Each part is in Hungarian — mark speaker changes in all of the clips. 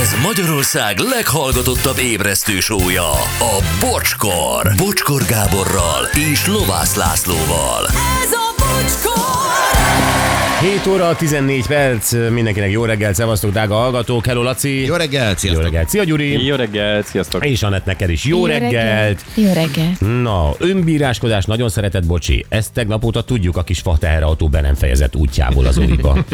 Speaker 1: Ez Magyarország leghallgatottabb ébresztő sója, a Bocskor. Bocskor Gáborral és Lovász Lászlóval.
Speaker 2: Ez a bocskor!
Speaker 3: 7 óra, 14 perc, mindenkinek jó reggelt, szevasztok, drága hallgatók, hello Laci,
Speaker 4: Jó reggelt,
Speaker 3: jó
Speaker 4: sziasztok!
Speaker 3: reggelt, szia Gyuri,
Speaker 5: Jó reggelt, sziasztok!
Speaker 3: és Anett neked is jó, reggelt.
Speaker 6: Jó reggelt.
Speaker 3: Na, önbíráskodás, nagyon szeretett Bocsi, ezt tegnap óta tudjuk a kis fa teherautó be nem fejezett útjából az úriba.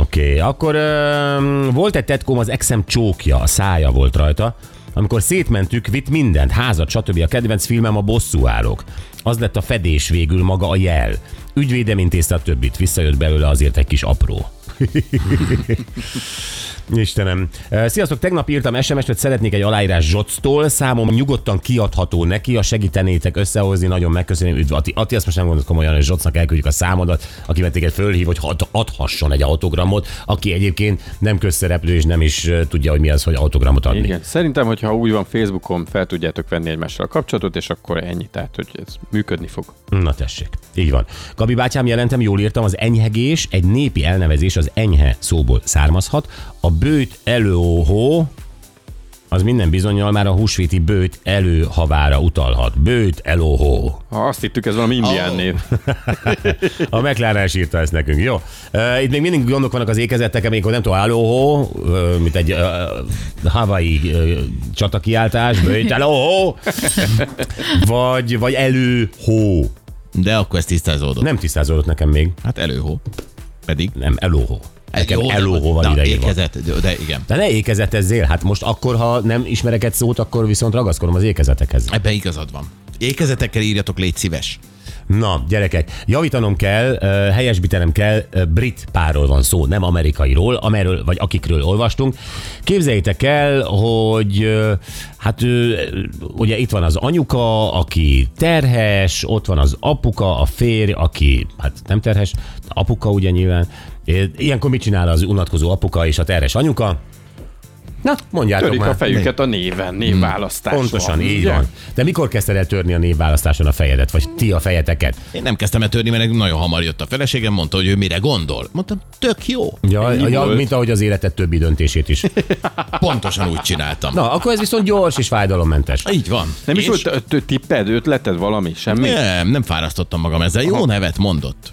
Speaker 3: Oké, okay. akkor um, volt egy tetkóm, az exem csókja, a szája volt rajta, amikor szétmentük, vitt mindent, házat, stb. A kedvenc filmem a bosszúállók. Az lett a fedés végül maga a jel. Ügyvédem intézte a többit, visszajött belőle azért egy kis apró. Istenem. Eh, Sziasztok, tegnap írtam SMS-t, hogy szeretnék egy aláírás Zsoctól, számom nyugodtan kiadható neki, ha segítenétek összehozni, nagyon megköszönöm, üdv Ati. Ati, azt most nem gondolt komolyan, hogy Zsocnak elküldjük a számodat, aki mert téged fölhív, hogy ad- adhasson egy autogramot, aki egyébként nem közszereplő és nem is eh, tudja, hogy mi az, hogy autogramot adni.
Speaker 5: Igen, szerintem, hogyha úgy van Facebookon, fel tudjátok venni egymással a kapcsolatot, és akkor ennyi, tehát hogy ez működni fog.
Speaker 3: Na tessék, így van. Gabi bátyám jelentem, jól írtam, az enyhegés egy népi elnevezés, az enyhe szóból származhat. A bőt előhó, az minden bizonyal már a húsvéti bőt előhavára utalhat. Bőt elóhó.
Speaker 5: Ha azt hittük, ez valami indián
Speaker 4: Ó.
Speaker 5: oh. név.
Speaker 3: hát A McLaren is írta ezt nekünk, jó? Uh, itt még mindig gondok vannak az ékezettek, amikor nem tudom, alóhó, uh, mint egy uh, havai uh, csatakiáltás, bőt elóhó, vagy, vagy előhó.
Speaker 4: De akkor ez tisztázódott.
Speaker 3: Nem tisztázódott nekem még.
Speaker 4: Hát előhó. Pedig.
Speaker 3: Nem, elóhó. Nekem
Speaker 4: Jó, de-
Speaker 3: elóhó van
Speaker 4: na,
Speaker 3: ideírva.
Speaker 4: Ékezett, de, de igen.
Speaker 3: De ne ékezetezzél, hát most akkor, ha nem ismerek egy szót, akkor viszont ragaszkodom az ékezetekhez.
Speaker 4: Ebben igazad van. Ékezetekkel írjatok, légy szíves.
Speaker 3: Na, gyerekek, javítanom kell, ö, helyesbítenem kell, ö, brit párról van szó, nem amerikairól, amerről, vagy akikről olvastunk. Képzeljétek el, hogy ö, hát ö, ugye itt van az anyuka, aki terhes, ott van az apuka, a férj, aki hát nem terhes, apuka ugye nyilván. É, Ilyenkor mit csinál az unatkozó apuka és a terhes anyuka? Na, mondjátok
Speaker 5: Törik
Speaker 3: már. Hmm.
Speaker 5: a fejüket a néven, névválasztás.
Speaker 3: Pontosan,
Speaker 5: van,
Speaker 3: így
Speaker 5: ugye?
Speaker 3: van. De mikor kezdted el törni a névválasztáson a fejedet, vagy ti a fejeteket?
Speaker 4: Én nem kezdtem el törni, mert nekem nagyon hamar jött a feleségem, mondta, hogy ő mire gondol. Mondtam, tök jó.
Speaker 3: Ja,
Speaker 5: Ennyi
Speaker 3: ja
Speaker 5: volt.
Speaker 3: mint ahogy az életed többi döntését is.
Speaker 4: Pontosan úgy csináltam.
Speaker 3: Na, akkor ez viszont gyors és fájdalommentes.
Speaker 4: Így van.
Speaker 5: Nem is
Speaker 4: És-
Speaker 5: volt ö- ö- tipped, ötleted valami, semmi?
Speaker 4: Nem, nem fárasztottam magam ezzel. Jó nevet mondott.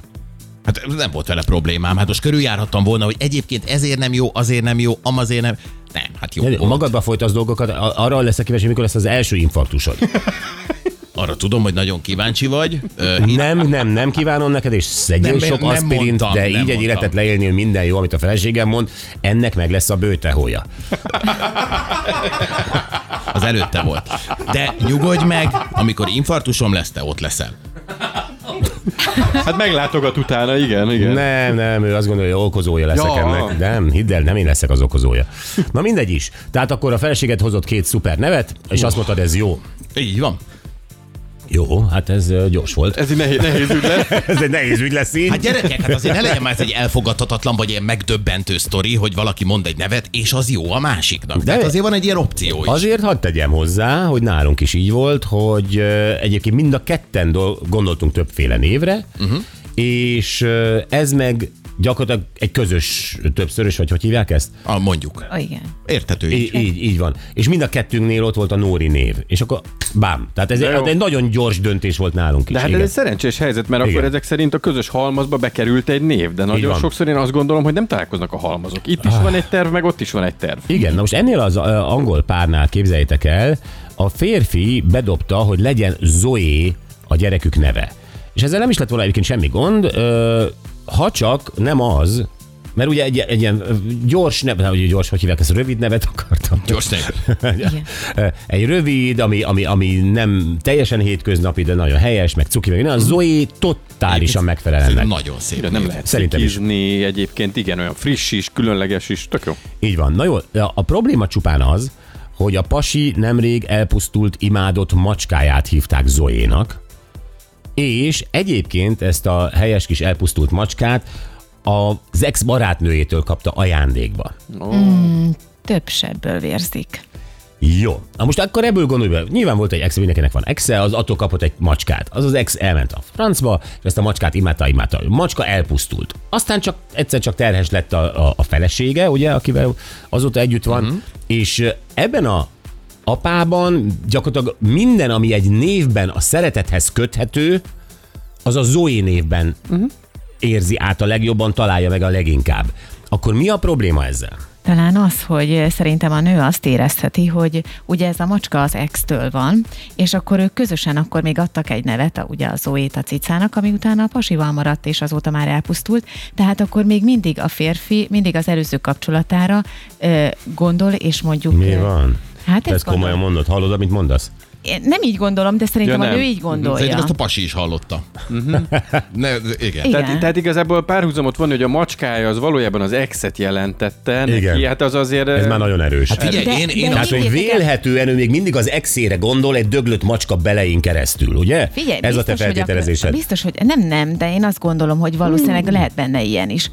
Speaker 4: Hát nem volt vele problémám. Hát most körüljárhattam volna, hogy egyébként ezért nem jó, azért nem jó, amazért nem. Nem, hát jó. volt.
Speaker 3: Magadba folytasz dolgokat, a- arra leszek kíváncsi, mikor lesz az első infarktusod.
Speaker 4: Arra tudom, hogy nagyon kíváncsi vagy. Ö,
Speaker 3: Nem, nem, nem kívánom neked, és szedjél
Speaker 4: Nem,
Speaker 3: sok
Speaker 4: nem
Speaker 3: aspirint,
Speaker 4: mondtam,
Speaker 3: de
Speaker 4: nem
Speaker 3: így egy
Speaker 4: mondtam.
Speaker 3: életet leélni, hogy minden jó, amit a feleségem mond, ennek meg lesz a bőtehója.
Speaker 4: Az előtte volt. De nyugodj meg, amikor infartusom lesz, te ott leszel.
Speaker 5: Hát meglátogat utána, igen, igen.
Speaker 3: Nem, nem, ő azt gondolja, hogy okozója leszek ja.
Speaker 5: Ja.
Speaker 3: ennek. Nem, hidd el, nem én leszek az okozója. Na mindegy is. Tehát akkor a feleséget hozott két szuper nevet, és azt mondtad, ez jó.
Speaker 4: Így van.
Speaker 3: Jó, hát ez ö, gyors volt.
Speaker 5: Ez így nehéz, nehéz ügy lesz.
Speaker 3: Ez egy nehéz ügy lesz így.
Speaker 4: Hát gyerekek, hát azért ne legyen már ez egy elfogadhatatlan vagy ilyen megdöbbentő sztori, hogy valaki mond egy nevet, és az jó a másiknak. De hát azért van egy ilyen opció is.
Speaker 3: Azért hadd tegyem hozzá, hogy nálunk is így volt, hogy ö, egyébként mind a ketten dol- gondoltunk többféle névre,
Speaker 5: Mhm.
Speaker 3: uh-huh. és ö, ez meg gyakorlatilag egy közös többszörös, vagy hogy hívják ezt?
Speaker 4: A, mondjuk.
Speaker 6: Ó, igen.
Speaker 4: Érthető így.
Speaker 3: Így, így, így van. És mind a kettőnknél ott volt a Nóri név. És akkor bám. Tehát ez
Speaker 5: De jó.
Speaker 3: egy, egy nagyon gyors döntés volt nálunk is.
Speaker 5: De hát
Speaker 3: igen.
Speaker 5: ez egy szerencsés helyzet, mert
Speaker 3: Igen.
Speaker 5: akkor ezek szerint a közös halmazba bekerült egy név, de nagyon
Speaker 3: van. Ah.
Speaker 5: sokszor én azt gondolom, hogy nem találkoznak a halmazok. Itt is van egy terv, meg ott is van egy terv.
Speaker 3: Igen, na most ennél az ö, angol párnál képzeljétek el, a férfi bedobta, hogy legyen Zoé a gyerekük neve. És ezzel nem is lett volna egyébként semmi gond, ö, ha csak nem az, mert ugye egy, egy ilyen ö, gyors nevet, nem, hogy gyors, hogy hívják ezt, rövid nevet akartam.
Speaker 4: Gyors név.
Speaker 6: Igen.
Speaker 3: Egy rövid, ami, ami, ami nem teljesen hétköznapi, de nagyon helyes, meg cuki, meg a Zoé totálisan megfelel ennek.
Speaker 4: Nagyon szép.
Speaker 5: De
Speaker 4: név.
Speaker 5: nem lehet
Speaker 3: Szerintem
Speaker 5: Szerintem
Speaker 3: is.
Speaker 5: cikizni egyébként, igen, olyan friss is, különleges is, tök jó.
Speaker 3: Így van. Na jó, a a probléma csupán az, hogy a pasi nemrég elpusztult imádott macskáját hívták Zoénak, és egyébként ezt a helyes kis elpusztult macskát az ex barátnőjétől kapta ajándékba.
Speaker 6: Több sebből vérzik.
Speaker 3: Jó. Na most akkor ebből gondolj be, nyilván volt egy ex, mindenkinek van exe, az attól kapott egy macskát. Az az ex elment a francba, és ezt a macskát imádta, imádta. A macska elpusztult. Aztán csak egyszer csak terhes lett a, a, a felesége, ugye, akivel azóta együtt van,
Speaker 6: Mhm.
Speaker 3: uh-huh. és ebben a apában gyakorlatilag minden, ami egy névben a szeretethez köthető, az a Zoé névben
Speaker 6: Mhm.
Speaker 3: uh-huh. érzi át a legjobban, találja meg a leginkább. Akkor mi a probléma ezzel?
Speaker 6: Talán az, hogy eh, szerintem a nő azt érezheti, hogy ugye ez a macska az ex-től van, és akkor ők közösen akkor még adtak egy nevet, a, ugye a Zoét a cicának, ami utána a pasival maradt, és azóta már elpusztult, tehát akkor még mindig a férfi, mindig az előző kapcsolatára ö, gondol, és mondjuk...
Speaker 3: Mi
Speaker 6: ö,
Speaker 3: van?
Speaker 6: Hát
Speaker 3: Te
Speaker 6: ez
Speaker 3: ezt komolyan
Speaker 6: komolyan.
Speaker 3: mondod, hallod, amit mondasz?
Speaker 6: Én nem így gondolom, de szerintem
Speaker 5: Ja,
Speaker 6: ja, a
Speaker 5: nem.
Speaker 6: nő így gondolja.
Speaker 4: Szerintem ezt a pasi is hallotta.
Speaker 5: Mhm.
Speaker 4: ne, igen.
Speaker 6: Igen.
Speaker 5: Tehát, tehát igazából párhuzamot van, hogy a macskája az valójában az exet jelentette. neki,
Speaker 3: Igen.
Speaker 5: Hát az azért...
Speaker 3: Ez
Speaker 5: eh,
Speaker 3: már nagyon erős. Hát,
Speaker 4: Figyelj,
Speaker 6: De-
Speaker 4: én,
Speaker 6: de
Speaker 4: én
Speaker 6: mi-
Speaker 3: tehát,
Speaker 4: azt
Speaker 3: hogy
Speaker 6: Higgyétek el-
Speaker 3: vélhetően ő még mindig az exére gondol egy döglött macska belein keresztül, ugye?
Speaker 6: Figyelj,
Speaker 3: Ez a te
Speaker 6: biztos, hogy
Speaker 3: feltételezésed.
Speaker 6: Akkor, biztos, hogy nem, nem, de én azt gondolom, hogy valószínűleg lehet benne ilyen is.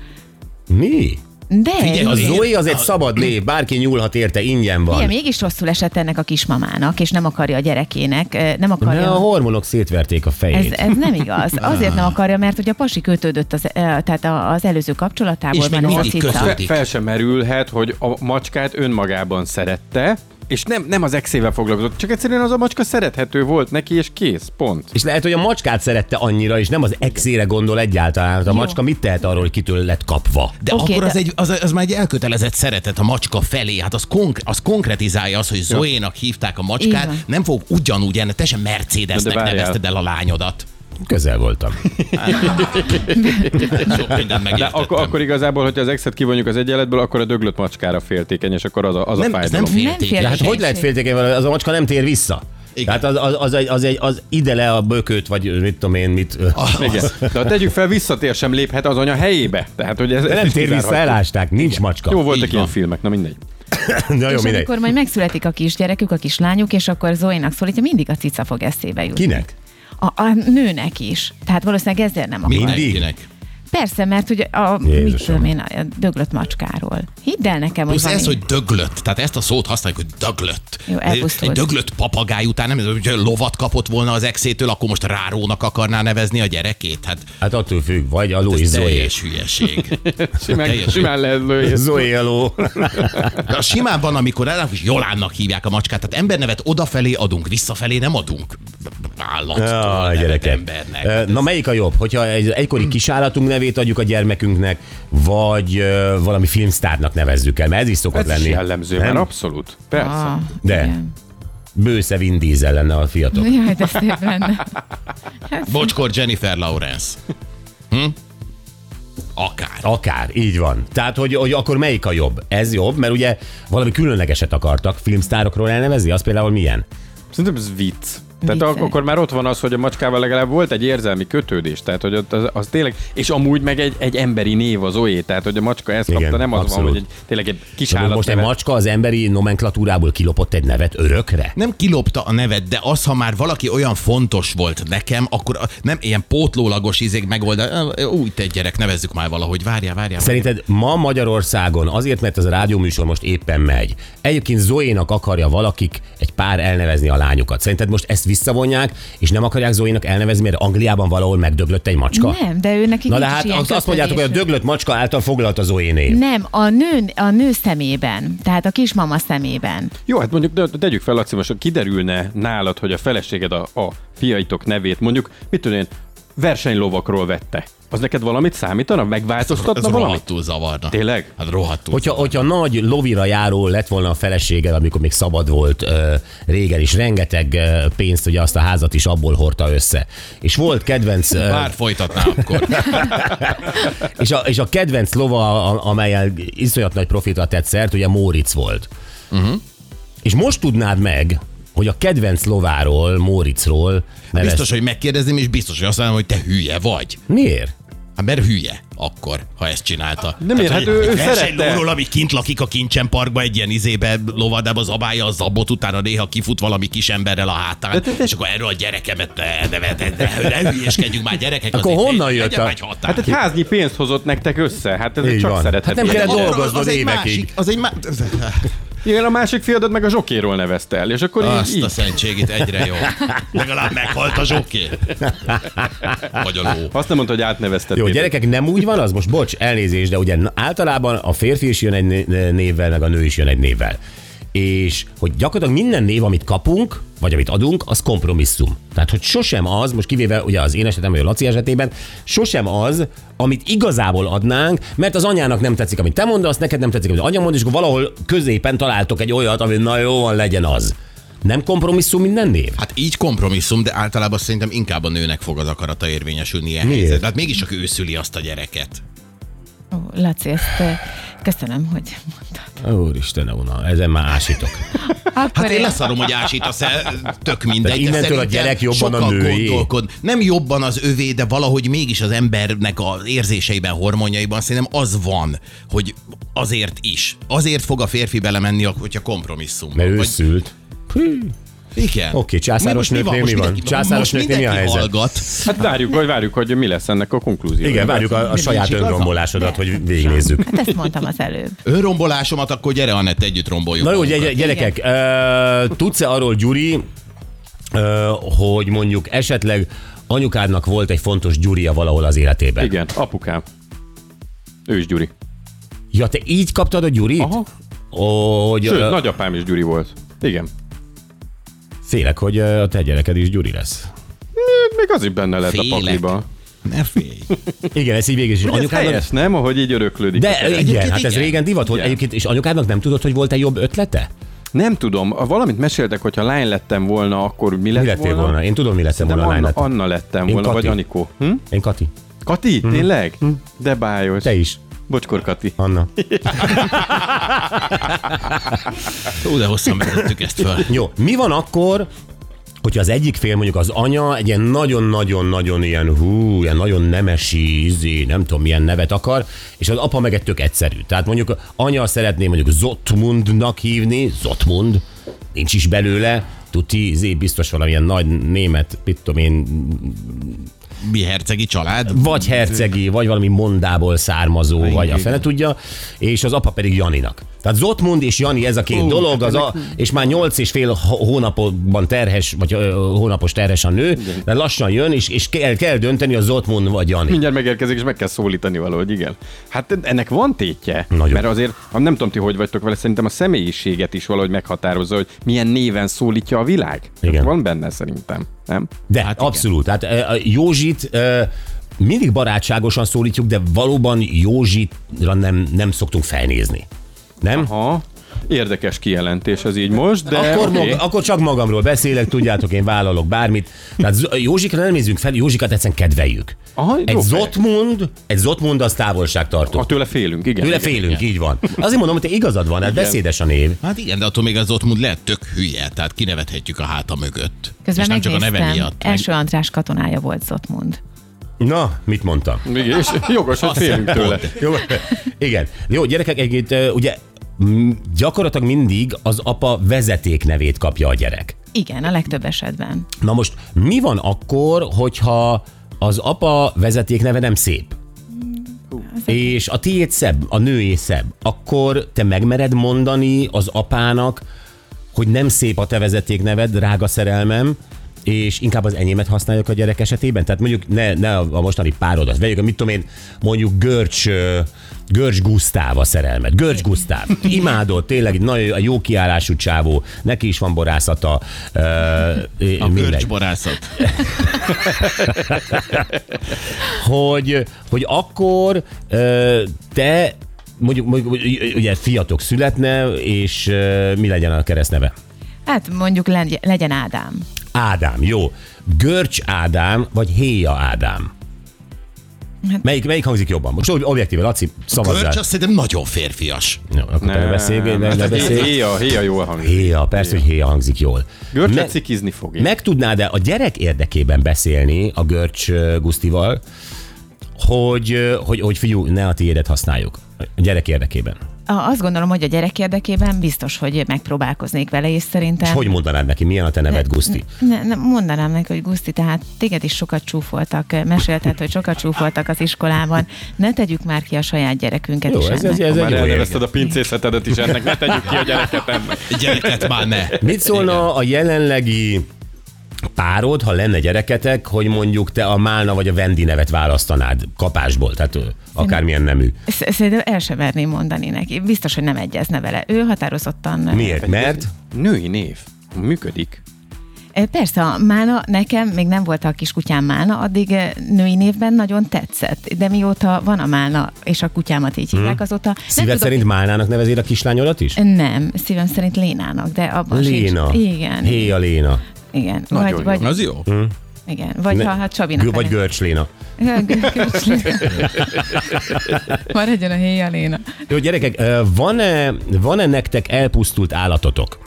Speaker 3: Mi?
Speaker 6: De
Speaker 4: Figyelj,
Speaker 3: A
Speaker 4: az Én-
Speaker 3: Zoe az egy szabad név, bárki nyúlhat érte, ingyen
Speaker 6: Igen,
Speaker 3: van.
Speaker 6: mégis rosszul esett ennek a kismamának, és nem akarja a gyerekének, eh, nem
Speaker 3: Ne,
Speaker 6: akarja...
Speaker 3: a hormonok szétverték a
Speaker 6: ez,
Speaker 3: fejét.
Speaker 6: ez nem igaz. Azért
Speaker 3: Ah.
Speaker 6: nem akarja, mert hogy a pasi kötődött az, eh, tehát a- az előző kapcsolatából.
Speaker 4: És még
Speaker 6: van ez a
Speaker 4: mindig
Speaker 6: cica.
Speaker 4: kötődik.
Speaker 5: Fe, fel sem merülhet, hogy a macskát önmagában szerette, és nem, nem az exével foglalkozott, csak egyszerűen az a macska szerethető volt neki, és kész, pont.
Speaker 3: És lehet, hogy a macskát szerette annyira, és nem az exére gondol egyáltalán. Hát A macska mit tehet arról, hogy kitől lett kapva?
Speaker 4: De
Speaker 6: Oké,
Speaker 4: okay, akkor
Speaker 6: de-
Speaker 4: de... Az, egy, az, az már egy elkötelezett szeretet a macska felé, hát az, konkr- az konkretizálja az, hogy Zoénak hívták a
Speaker 6: Így
Speaker 4: macskát,
Speaker 6: van.
Speaker 4: nem fog ugyanúgy enni, te sem Mercedesnek
Speaker 5: Na de várjál.
Speaker 4: nevezted el a lányodat.
Speaker 3: Közel voltam.
Speaker 4: Sok mindent
Speaker 5: De
Speaker 4: megértettem.
Speaker 5: akkor, akkor igazából, hogyha az exet kivonjuk az egyenletből, akkor a döglött macskára féltékeny, és akkor az a, az
Speaker 4: Nem,
Speaker 5: a
Speaker 4: ez
Speaker 5: fájdalom.
Speaker 4: nem
Speaker 6: Nem
Speaker 4: féltékeny.
Speaker 6: féltékeny.
Speaker 4: Ja,
Speaker 3: Hát hogy lehet féltékeny vele? Az a macska nem tér vissza.
Speaker 4: Igen.
Speaker 3: Igen. Tehát az, az, az, egy, az, egy, az ide le a bökőt, vagy mit tudom én, mit...
Speaker 5: Igen. De ha tegyük fel, visszatér sem léphet az anya helyébe. Tehát, hogy ez,
Speaker 3: De
Speaker 5: ezt
Speaker 3: nem
Speaker 5: is
Speaker 3: tér vissza,
Speaker 5: kizárhatjuk.
Speaker 3: elásták, nincs macska.
Speaker 5: Jó
Speaker 4: Így
Speaker 5: voltak ilyen
Speaker 4: van.
Speaker 5: filmek, na mindegy.
Speaker 3: Na jó,
Speaker 6: és
Speaker 3: mindegy.
Speaker 6: amikor majd megszületik a kisgyerekük, a kislányuk, és akkor Zoénak szólítja, mindig a cica fog eszébe jutni.
Speaker 3: Kinek?
Speaker 6: A, a nőnek is. Tehát valószínűleg ezért nem akar.
Speaker 3: Mindig?
Speaker 4: Mindenkinek.
Speaker 6: Persze, mert hogy a, mit
Speaker 3: Jézusom.
Speaker 6: tudom én, a döglött macskáról. Hidd el nekem,
Speaker 4: Plusz
Speaker 6: hogy
Speaker 4: ez,
Speaker 6: van
Speaker 4: hogy döglött. Tehát ezt a szót használjuk, hogy döglött.
Speaker 6: Jó, elpusztult.
Speaker 4: Egy döglött papagáj után nem, hogy lovat kapott volna az exétől, akkor most rárónak akarná nevezni a gyerekét. Hát
Speaker 3: Hát attól függ, vagy a
Speaker 4: ez
Speaker 3: Louis Zoé.
Speaker 4: teljes hülyeség.
Speaker 5: Simán,
Speaker 4: Teljesen.
Speaker 5: simán lehet lőni.
Speaker 3: Zoé a ló.
Speaker 4: De simán van, amikor el, és Jolánnak hívják a macskát. Tehát embernevet odafelé adunk, visszafelé nem adunk. Állattól
Speaker 3: Ah,
Speaker 4: nevet
Speaker 3: gyerekek.
Speaker 4: embernek.
Speaker 3: Ö, Na melyik a jobb? Hogyha egy egykori kisállatunk nevét adjuk a gyermekünknek, vagy ö, valami filmsztárnak nevezzük el, mert ez is szokott
Speaker 5: Ez is
Speaker 3: lenni.
Speaker 5: jellemző,
Speaker 3: Nem?
Speaker 5: már abszolút. Persze.
Speaker 4: Szóval-
Speaker 6: Ah,
Speaker 3: De.
Speaker 6: igen.
Speaker 3: Bősze Vin Diesel lenne a fiatal.
Speaker 6: Jaj, de szép lenne.
Speaker 4: Bocskor Jennifer Lawrence. Hm? Akár.
Speaker 6: Mm-hmm.
Speaker 3: Akár, így van. Tehát, hogy, hogy akkor melyik a jobb? Ez jobb, mert ugye valami különlegeset akartak filmsztárokról elnevezni, az például milyen?
Speaker 5: Szerintem ez vicc. Tehát
Speaker 6: Vicces.
Speaker 5: ak- akkor már ott van az, hogy a macskával legalább volt egy érzelmi kötődés, tehát hogy ott az, az tényleg, és amúgy meg egy, egy emberi név az olyé, tehát hogy a macska ezt
Speaker 3: Igen,
Speaker 5: kapta, nem az
Speaker 3: abszolút.
Speaker 5: van, hogy egy, tényleg egy kis állat.
Speaker 3: Most egy
Speaker 5: neve.
Speaker 3: macska az emberi nomenklatúrából kilopott egy nevet örökre?
Speaker 4: Nem kilopta a nevet, de az, ha már valaki olyan fontos volt nekem, akkor a- nem ilyen pótlólagos izék megoldja. Úgy te gyerek, nevezzük már valahogy. Várjál, várjál.
Speaker 3: Szerinted ma Magyarországon, azért, mert ez a rádióműsor most éppen megy, egyébként Zoénak akarja valakik egy pár elnevezni a lányukat. Szerinted most ezt visszavonják, és nem akarják Zoénak elnevezni, mert Angliában valahol megdöglött egy macska?
Speaker 6: Nem, de ő neki
Speaker 3: Na de
Speaker 6: nincs
Speaker 3: hát
Speaker 6: ilyen
Speaker 3: azt, azt mondjátok, hogy a
Speaker 6: kötődése.
Speaker 3: döglött macska által foglalt a Zoé név.
Speaker 6: Nem, a nő, a nő szemében, tehát a kismama szemében.
Speaker 5: Jó, hát mondjuk de- de tegyük fel, Laci, most ha kiderülne nálad, hogy a feleséged a, a fiaitok nevét mondjuk, mit tudom én, versenylovakról vette. Az neked valamit számítana?
Speaker 4: ez
Speaker 5: Megváltoztatna valamit?
Speaker 4: rohadtul zavarna.
Speaker 5: Tényleg?
Speaker 4: Hát rohadtul.
Speaker 3: Hogyha, hogyha nagy lovira járó lett volna a feleséged, amikor még szabad volt ö, régen is, rengeteg ö, pénzt, ugye azt a házat is abból hordta össze. És volt kedvenc... Ö,
Speaker 4: Bár folytatná akkor.
Speaker 3: És a, és a kedvenc lova, a- amelyel iszonyat nagy profitra tett szert, ugye Móricz volt. Uh-huh. És most tudnád meg, hogy a kedvenc lováról, Móriczról nevezd.
Speaker 4: Biztos, hogy megkérdezném, és biztos, hogy azt mondom, hogy te hülye vagy.
Speaker 3: Miért?
Speaker 4: Hát mert hülye akkor, ha ezt csinálta.
Speaker 5: Nem ér, hát ő- ő szerette.
Speaker 4: Lóról, ami kint lakik a kincsen parkba, egy ilyen izébe lovadába zabálja a zabot, utána néha kifut valami kis emberrel a hátán,
Speaker 5: te- te-
Speaker 4: és akkor erről a gyerekemet ne, ne, ne, ne, ne, ne hülyeskedjünk már gyerekek.
Speaker 3: Akkor
Speaker 4: azért
Speaker 3: honnan
Speaker 4: egy-
Speaker 3: jött
Speaker 4: legyen
Speaker 3: a-
Speaker 4: egy határ.
Speaker 5: Hát egy háznyi pénzt hozott nektek össze, hát ez
Speaker 3: Így
Speaker 5: csak
Speaker 3: van.
Speaker 5: szerethető.
Speaker 3: Hát nem kellett
Speaker 4: Akkor
Speaker 3: dolgoznod
Speaker 4: egy
Speaker 3: évekig.
Speaker 4: másik- Az egy má...
Speaker 5: Igen, a másik fiadat meg a zsokéról nevezte el, és akkor így,
Speaker 4: Azt a
Speaker 5: így.
Speaker 4: szentségét egyre jó. Legalább meghalt a zsoké. Vagy a ló.
Speaker 5: Azt nem mondta, hogy átnevezted.
Speaker 3: Jó,
Speaker 5: Péter.
Speaker 3: gyerekek, nem úgy van az? Most bocs, elnézést, de ugye általában a férfi is jön egy né- névvel, meg a nő is jön egy névvel. És hogy gyakorlatilag minden név, amit kapunk, vagy amit adunk, az kompromisszum. Tehát, hogy sosem az, most kivéve ugye az én esetem, vagy a Laci esetében, sosem az, amit igazából adnánk, mert az anyának nem tetszik, amit te mondasz, neked nem tetszik, amit anya mond, és akkor valahol középen találtok egy olyat, ami na jó van, legyen az. Nem kompromisszum minden név?
Speaker 4: Hát így kompromisszum, de általában szerintem inkább a nőnek fog az akarata érvényesülni ilyen
Speaker 3: Miért?
Speaker 4: helyzetben. Hát mégiscsak ő szüli azt a gyereket.
Speaker 6: Ó, Laci, ezt eh, köszönöm, hogy mondtad.
Speaker 3: Úristen, Una, ezen már ásítok.
Speaker 6: Akkor
Speaker 4: Hát én leszarom, hogy ásítasz el, tök mindegy.
Speaker 3: Tehát
Speaker 4: de
Speaker 3: innentől a
Speaker 4: szerintem
Speaker 3: gyerek jobban a
Speaker 4: sokan
Speaker 3: nőé.
Speaker 4: Gondolkod. Nem jobban az övé, de valahogy mégis az embernek az érzéseiben, hormonjaiban szerintem az van, hogy azért is. Azért fog a férfi belemenni, ak- hogyha kompromisszum.
Speaker 3: Mert ő szült. Hű.
Speaker 4: Igen.
Speaker 3: Oké, császáros
Speaker 4: Mi most mi
Speaker 3: nőknél
Speaker 4: Most
Speaker 3: mi van?
Speaker 4: mindenki-
Speaker 3: Császáros
Speaker 4: most
Speaker 3: nőknél mi a
Speaker 4: mindenki
Speaker 3: helyzet?
Speaker 4: Hallgat.
Speaker 5: Hát várjuk, vagy várjuk, hogy mi lesz ennek a konklúzió.
Speaker 3: Igen, várjuk a, a saját önrombolásodat, hogy végignézzük.
Speaker 6: Hát ezt mondtam az előbb.
Speaker 4: Önrombolásomat, akkor gyere Anett, együtt romboljuk.
Speaker 3: Na jó,
Speaker 4: magunkat.
Speaker 3: gyere- gyerekek, ö, tudsz-e arról, Gyuri, ö, hogy mondjuk esetleg anyukádnak volt egy fontos Gyuria valahol az életében?
Speaker 5: Igen, apukám. Ő is Gyuri.
Speaker 3: Ja, te így kaptad a Gyurit?
Speaker 5: Aha.
Speaker 3: Hogy,
Speaker 5: Sőt,
Speaker 3: ö,
Speaker 5: nagyapám is Gyuri volt. Igen.
Speaker 3: Félek, hogy ö, a te gyereked is Gyuri lesz.
Speaker 5: Még az is benne lett a
Speaker 4: Félek.
Speaker 5: pakliba.
Speaker 4: Ne félj.
Speaker 3: Igen, ez így végig is.
Speaker 5: Ez
Speaker 3: Anyukádnak...
Speaker 5: helyes, nem? Ahogy így öröklődik. a
Speaker 3: De
Speaker 5: gyerek.
Speaker 3: igen,
Speaker 4: Egyébként
Speaker 3: hát ez
Speaker 4: igen.
Speaker 3: régen divat volt.
Speaker 5: Igen.
Speaker 3: Egyébként, és anyukádnak nem tudod, hogy volt-e jobb ötlete?
Speaker 5: Nem tudom, a- valamit meséltek, hogyha lány lettem volna, akkor mi lett
Speaker 3: Mi lettél
Speaker 5: volna?
Speaker 3: volna? Én tudom, mi lettem
Speaker 5: De
Speaker 3: volna a lány
Speaker 5: Anna,
Speaker 3: lettem.
Speaker 5: Anna lettem
Speaker 3: Én
Speaker 5: volna,
Speaker 3: Kati.
Speaker 5: vagy Anikó. Hm?
Speaker 3: Én Kati.
Speaker 5: Kati, tényleg? De bájos.
Speaker 3: Te is.
Speaker 5: Bocskor Kati.
Speaker 3: Anna.
Speaker 4: Ó, de hosszan vezettük ezt fel.
Speaker 3: Jó, mi van akkor, hogyha az egyik fél, mondjuk az anya egy ilyen nagyon-nagyon-nagyon ilyen hú, ilyen nagyon nemesi, izé, nem tudom milyen nevet akar, és az apa meg egy tök egyszerű. Tehát mondjuk anya szeretné mondjuk Zottmundnak hívni, Zottmund, nincs is belőle, tuti, izé, biztos valamilyen nagy német, mit tudom én,
Speaker 4: Mi hercegi család?
Speaker 3: vagy hercegi, vagy valami mondából származó, vagy a fene tudja, és az apa pedig Janinak. Tehát Zotmund és Jani ez a két dolog, az a, és már nyolc és fél h- hónapban terhes, vagy ö, hónapos terhes a nő, de lassan jön, és, és kell, kell dönteni, a Zotmund vagy Jani.
Speaker 5: Mindjárt megérkezik, és meg kell szólítani valahogy, igen. Hát ennek van tétje,
Speaker 3: Nagyon.
Speaker 5: mert azért, ha nem tudom ti, hogy vagytok vele, szerintem a személyiséget is valahogy meghatározza, hogy milyen néven szólítja a világ.
Speaker 3: Igen.
Speaker 5: Van benne szerintem, nem?
Speaker 3: De hát abszolút. Hát ö, a Józsit ö, mindig barátságosan szólítjuk, de valóban Józsitra nem, nem szoktunk felnézni. Nem?
Speaker 5: Ha, érdekes kijelentés ez így most, de
Speaker 3: akkor,
Speaker 5: oké.
Speaker 3: okay. mag, akkor csak magamról beszélek, tudjátok, én vállalok bármit. Tehát Z- Józsikra nem nézünk fel, Józsikat egyszerűen kedveljük.
Speaker 5: Aha, jó
Speaker 3: egy
Speaker 5: fej.
Speaker 3: Zotmund, egy Zotmund az távolságtartó.
Speaker 5: A tőle félünk, igen.
Speaker 3: Tőle
Speaker 5: igen,
Speaker 3: félünk, így van. Azért mondom, hogy te igazad van, hát beszédes a név.
Speaker 4: Hát igen, de attól még az Ottmund lehet tök hülye, tehát kinevethetjük a háta mögött.
Speaker 6: Közben
Speaker 4: és nem csak a neve
Speaker 6: megnéztem,
Speaker 4: miatt.
Speaker 6: első András katonája volt Zotmund.
Speaker 3: Na, mit mondtam?
Speaker 5: Igen, és jogos, hogy félünk tőle.
Speaker 3: Jó, igen. Jó, gyerekek, egyébként ö, ugye m, gyakorlatilag mindig az apa vezeték nevét kapja a gyerek.
Speaker 6: Igen, a legtöbb esetben.
Speaker 3: Na most mi van akkor, hogyha az apa vezetékneve nem szép? És a tiéd szebb, a nőé szebb. Akkor te megmered mondani az apának, hogy nem szép a te vezetékneved, drága szerelmem, és inkább az enyémet használjuk a gyerek esetében? Tehát mondjuk ne, ne a a mostani párodat vegyük, mit tudom én, mondjuk Görcs, ö, Görcs Gusztáv a szerelmet. Görcs Gusztáv. Imádod, tényleg egy nagyon jó- a jó kiállású csávó, neki is van borászata. Ö,
Speaker 4: A
Speaker 3: mindegy.
Speaker 4: görcsborászat.
Speaker 3: hogy, hogy akkor ö, te mondjuk, mondjuk ugye fiatok születne, és ö, mi legyen a keresztneve?
Speaker 6: Hát mondjuk legy- legyen Ádám.
Speaker 3: Ádám, jó. Görcs Ádám, vagy Héja Ádám? Melyik, melyik hangzik jobban? Most ob- objektíve, Laci, szavazzál.
Speaker 4: Görcs azt szerintem nagyon férfias.
Speaker 3: Jó, akkor te ne beszélj, ne,
Speaker 5: hát
Speaker 3: ne beszélj.
Speaker 5: Héja, héja jó hangzik.
Speaker 3: Héja, persze, hogy héja hangzik jól.
Speaker 5: Görcset
Speaker 3: Me-
Speaker 5: cikizni fog.
Speaker 3: Meg tudnád-e a gyerek érdekében beszélni a Görcs ö, Gusztival, hogy, ö, hogy, hogy fiú, ne a tiédet használjuk. A gyerek érdekében.
Speaker 6: a- azt gondolom, hogy a gyerek érdekében biztos, hogy megpróbálkoznék vele, és szerintem...
Speaker 3: És hogy mondanád neki, milyen a te neved, Guszti?
Speaker 6: Ne, ne, mondanám neki, hogy Guszti, tehát téged is sokat csúfoltak, mesélted, hogy sokat csúfoltak az iskolában. Ne tegyük már ki a saját gyerekünket
Speaker 3: Jó,
Speaker 6: is
Speaker 3: ez, ez,
Speaker 6: ennek.
Speaker 3: ez
Speaker 5: Már
Speaker 3: egy jó ér.
Speaker 5: elnevezted a pincészetedet is ennek, ne tegyük ki a gyereket ennek.
Speaker 4: Gyereket már ne.
Speaker 3: Mit szólna a jelenlegi párod, ha lenne gyereketek, hogy mondjuk te a Málna vagy a Vendi nevet választanád kapásból, tehát ö, akármilyen nemű.
Speaker 6: Sz- Szerintem el sem merném mondani neki. Biztos, hogy nem egyezne vele. Ő határozottan...
Speaker 3: Miért? Mert?
Speaker 5: Női név. Működik.
Speaker 6: Ö, E, Persze, a Mána nekem, még nem volt a kis kutyám Mána, addig ö, női névben nagyon tetszett, de mióta van a Mána, és a kutyámat így hívják, azóta nem
Speaker 3: Hm. Szíved szerint Málnának nevezél a kislányodat is?
Speaker 6: Nem, szívem szerint Lénának, de abban
Speaker 3: Léna.
Speaker 6: sincs. Igen,
Speaker 3: Hé a Léna.
Speaker 6: igen.
Speaker 5: Nagyon
Speaker 6: Vagy,
Speaker 5: jó. Hm.
Speaker 6: vagy,
Speaker 4: Az jó.
Speaker 6: igen. vagy ha hát Csabinak.
Speaker 3: Gő- vagy
Speaker 6: elő-
Speaker 3: Görcs Léna.
Speaker 6: Maradjon a héja Léna.
Speaker 3: Jó, gyerekek, ö, van-e, van-e nektek elpusztult állatotok?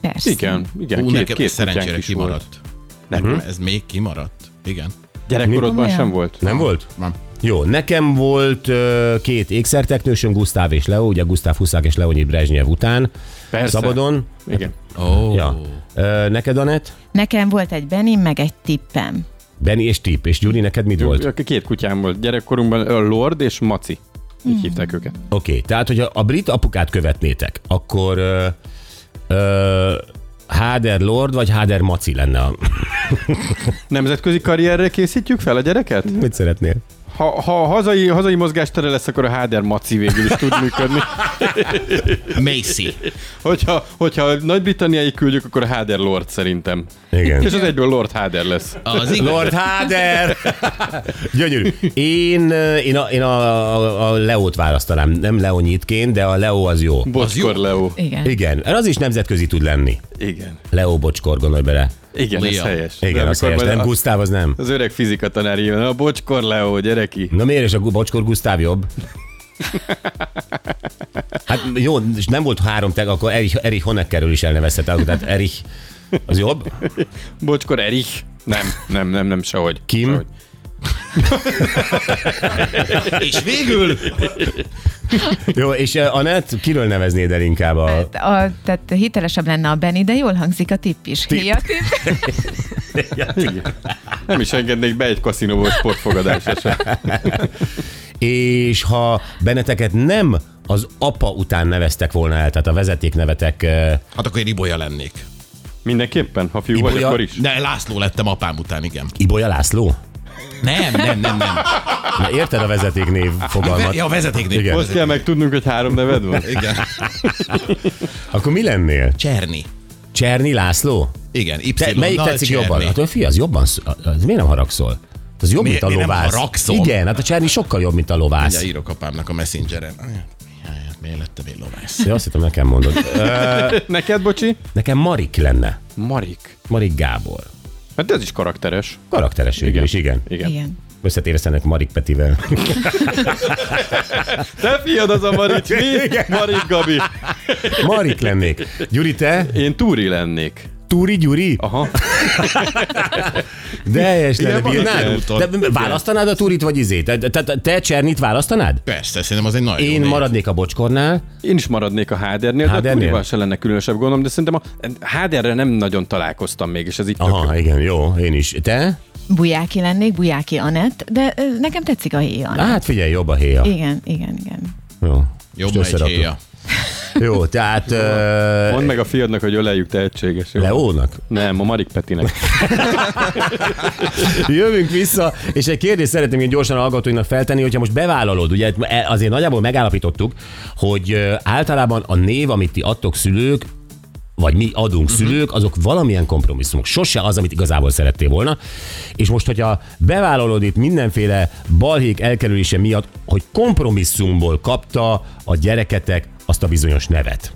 Speaker 6: Persze.
Speaker 5: Igen, igen.
Speaker 4: Hú,
Speaker 5: két,
Speaker 4: nekem
Speaker 5: két
Speaker 4: szerencsére
Speaker 5: kutyánk is volt.
Speaker 4: kimaradt. Nekem ez még kimaradt. Igen.
Speaker 5: Gyerekkorodban
Speaker 6: Komolyan?
Speaker 5: sem volt.
Speaker 3: Nem volt?
Speaker 4: Nem.
Speaker 3: Jó, nekem volt ö, két ékszerteknősöm, Gusztáv és Leo, ugye Gusztáv Huszák és Leonid Brezsnyev után.
Speaker 5: Persze.
Speaker 3: Szabadon.
Speaker 5: Igen.
Speaker 4: Ó.
Speaker 3: Ja. Ö, neked, Anett?
Speaker 6: Nekem volt egy Benim, meg egy tippem.
Speaker 3: Benni és Tip, és Gyuri, neked mit volt? Oké,
Speaker 5: Volt. Két kutyám volt. Gyerekkorunkban ö, Lord és Maci.
Speaker 3: Hmm.
Speaker 5: Így hívták őket.
Speaker 3: okay, tehát hogyha a brit apukát követnétek, akkor ö, ö, Háder Lord vagy Háder Maci lenne a...
Speaker 5: Nemzetközi karrierre készítjük fel a gyereket?
Speaker 3: Mit szeretnél?
Speaker 5: Ha, ha a hazai, hazai mozgástere lesz, akkor a Háder Maci végül is tud működni.
Speaker 4: Macy.
Speaker 5: Hogyha, hogyha a Nagy-Britanniáig küldjük, akkor a Háder Lord szerintem.
Speaker 3: Igen.
Speaker 5: És az egyből Lord Háder lesz.
Speaker 4: Az igaz.
Speaker 3: Lord Háder! Gyönyörű. Én, ö, én, a, én a, a, a Leót választanám. Nem Leonyitként, de a Leo az jó.
Speaker 5: Bocskor
Speaker 4: jó.
Speaker 5: Leo.
Speaker 6: Igen.
Speaker 3: Igen, mert az is nemzetközi tud lenni.
Speaker 5: Igen.
Speaker 3: Leo Bocskor, gondolj bele.
Speaker 5: Igen, ez
Speaker 4: Leo.
Speaker 5: helyes.
Speaker 3: Igen,
Speaker 5: De
Speaker 3: az
Speaker 5: amikor
Speaker 3: helyes.
Speaker 5: majd
Speaker 3: Nem,
Speaker 5: a-
Speaker 3: Gusztáv az nem.
Speaker 5: Az öreg fizika tanár jön, a Bocskor Leo, gyereki.
Speaker 3: Na miért, és a Gu- Bocskor Gusztáv jobb? Hát jó, és nem volt három tag, akkor Erich, Erich Honeckerről is elnevezhet el, tehát Erich az jobb.
Speaker 5: Bocskor Erich. Nem, nem, nem, nem, sehogy.
Speaker 3: Kim?
Speaker 5: Sehogy.
Speaker 4: És végül
Speaker 3: Jó, és eh, Anett, kiről neveznéd el inkább a...
Speaker 6: A, a, tehát hitelesebb lenne a Benny, de jól hangzik a tipp is. Tip. Héja tipp.
Speaker 5: Hát, Igen. Nem is engednék be egy kaszinóból sportfogadásra sem.
Speaker 3: És ha benneteket nem az apa után neveztek volna el, tehát a vezeték nevetek...
Speaker 4: Hát akkor én Ibolya lennék.
Speaker 5: Mindenképpen, ha fiú vagy,
Speaker 3: Ibolya-
Speaker 5: akkor is.
Speaker 4: De László lettem apám után, igen.
Speaker 3: Ibolya László?
Speaker 4: Nem, nem, nem, nem.
Speaker 3: Na, érted a vezeték név fogalmat?
Speaker 4: Ja, vezetéknél.
Speaker 3: Igen.
Speaker 5: Azt kell meg tudnunk, hogy három neved van.
Speaker 4: Igen.
Speaker 3: Akkor mi lennél?
Speaker 4: Cserni.
Speaker 3: Cserny László?
Speaker 4: Igen, Y.
Speaker 3: Te, melyik tetszik jobban? Hát a fi, az jobban, sz- az miért nem haragszol? Az jobb,
Speaker 4: Miért-
Speaker 3: mint a
Speaker 4: miért nem
Speaker 3: lovász.
Speaker 4: haragszom?
Speaker 3: Igen, hát a Cserny sokkal jobb, mint a
Speaker 4: Mindjárt
Speaker 3: lovász.
Speaker 4: írok apámnak a messengeren. Jaj, hát miért lettem én lovász?
Speaker 3: Ja, azt hittem, nekem mondod. Ö,
Speaker 5: Neked, bocsi?
Speaker 3: Nekem Marik lenne.
Speaker 5: Marik.
Speaker 3: Marik Gábor.
Speaker 5: Hát ez is karakteres.
Speaker 3: Karakteres végül is, igen.
Speaker 5: Igen.
Speaker 6: Igen.
Speaker 3: Összetéreztenek Marik Petivel.
Speaker 5: Te fiad az a Marit, mi? Marit Gabi.
Speaker 3: Marik lennék. Gyuri, te?
Speaker 5: Én Túri lennék.
Speaker 3: Túri Gyuri?
Speaker 5: Aha.
Speaker 3: De helyes lenne,
Speaker 5: Igen, Marik
Speaker 3: bírnád?
Speaker 5: Gerúton.
Speaker 3: De választanád a Túrit vagy izét? Te, te, te Csernit választanád?
Speaker 4: Persze, szerintem az egy nagyon jó
Speaker 3: Én
Speaker 4: név.
Speaker 3: maradnék a bocskornál.
Speaker 5: Én is maradnék a Hádernél, de a
Speaker 3: Hádernél?
Speaker 5: Túrival se lenne különösebb gondom, de szerintem a Háderre nem nagyon találkoztam még, és ez itt
Speaker 3: Aha, igen, jó, én is. Te?
Speaker 6: Bujáki lennék, Bujáki Anett, de ö, nekem tetszik a héja Anett.
Speaker 3: Hát figyelj, jobb a héja.
Speaker 6: Igen, igen, igen.
Speaker 3: Jó. Most
Speaker 4: Jobb egy
Speaker 3: összeraktuk.
Speaker 4: héja.
Speaker 3: Jó, tehát
Speaker 5: Mondd meg a fiadnak, hogy öleljük tehetséges. jó?
Speaker 3: Leónak.
Speaker 5: Nem, a Marik Petinek.
Speaker 3: Jövünk vissza, és egy kérdést szeretném én gyorsan a hallgatóinknak feltenni, hogyha most bevállalod, ugye e- azért nagyjából megállapítottuk, hogy ö, általában a név, amit ti adtok szülők, vagy mi adunk szülők, azok valamilyen kompromisszumok. Sose az, amit igazából szerettél volna. És most, hogyha bevállalod itt mindenféle balhék elkerülése miatt, hogy kompromisszumból kapta a gyereketek azt a bizonyos nevet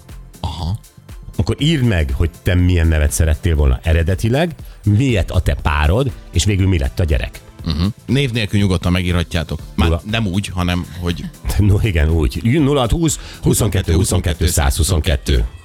Speaker 3: akkor írd meg, hogy te milyen nevet szerettél volna eredetileg, miért a te párod, és végül mi lett a gyerek.
Speaker 4: Név nélkül nyugodtan megírhatjátok. Már
Speaker 3: Ura.
Speaker 4: nem úgy, hanem, hogy
Speaker 3: No igen, úgy. 0620 22 22 122.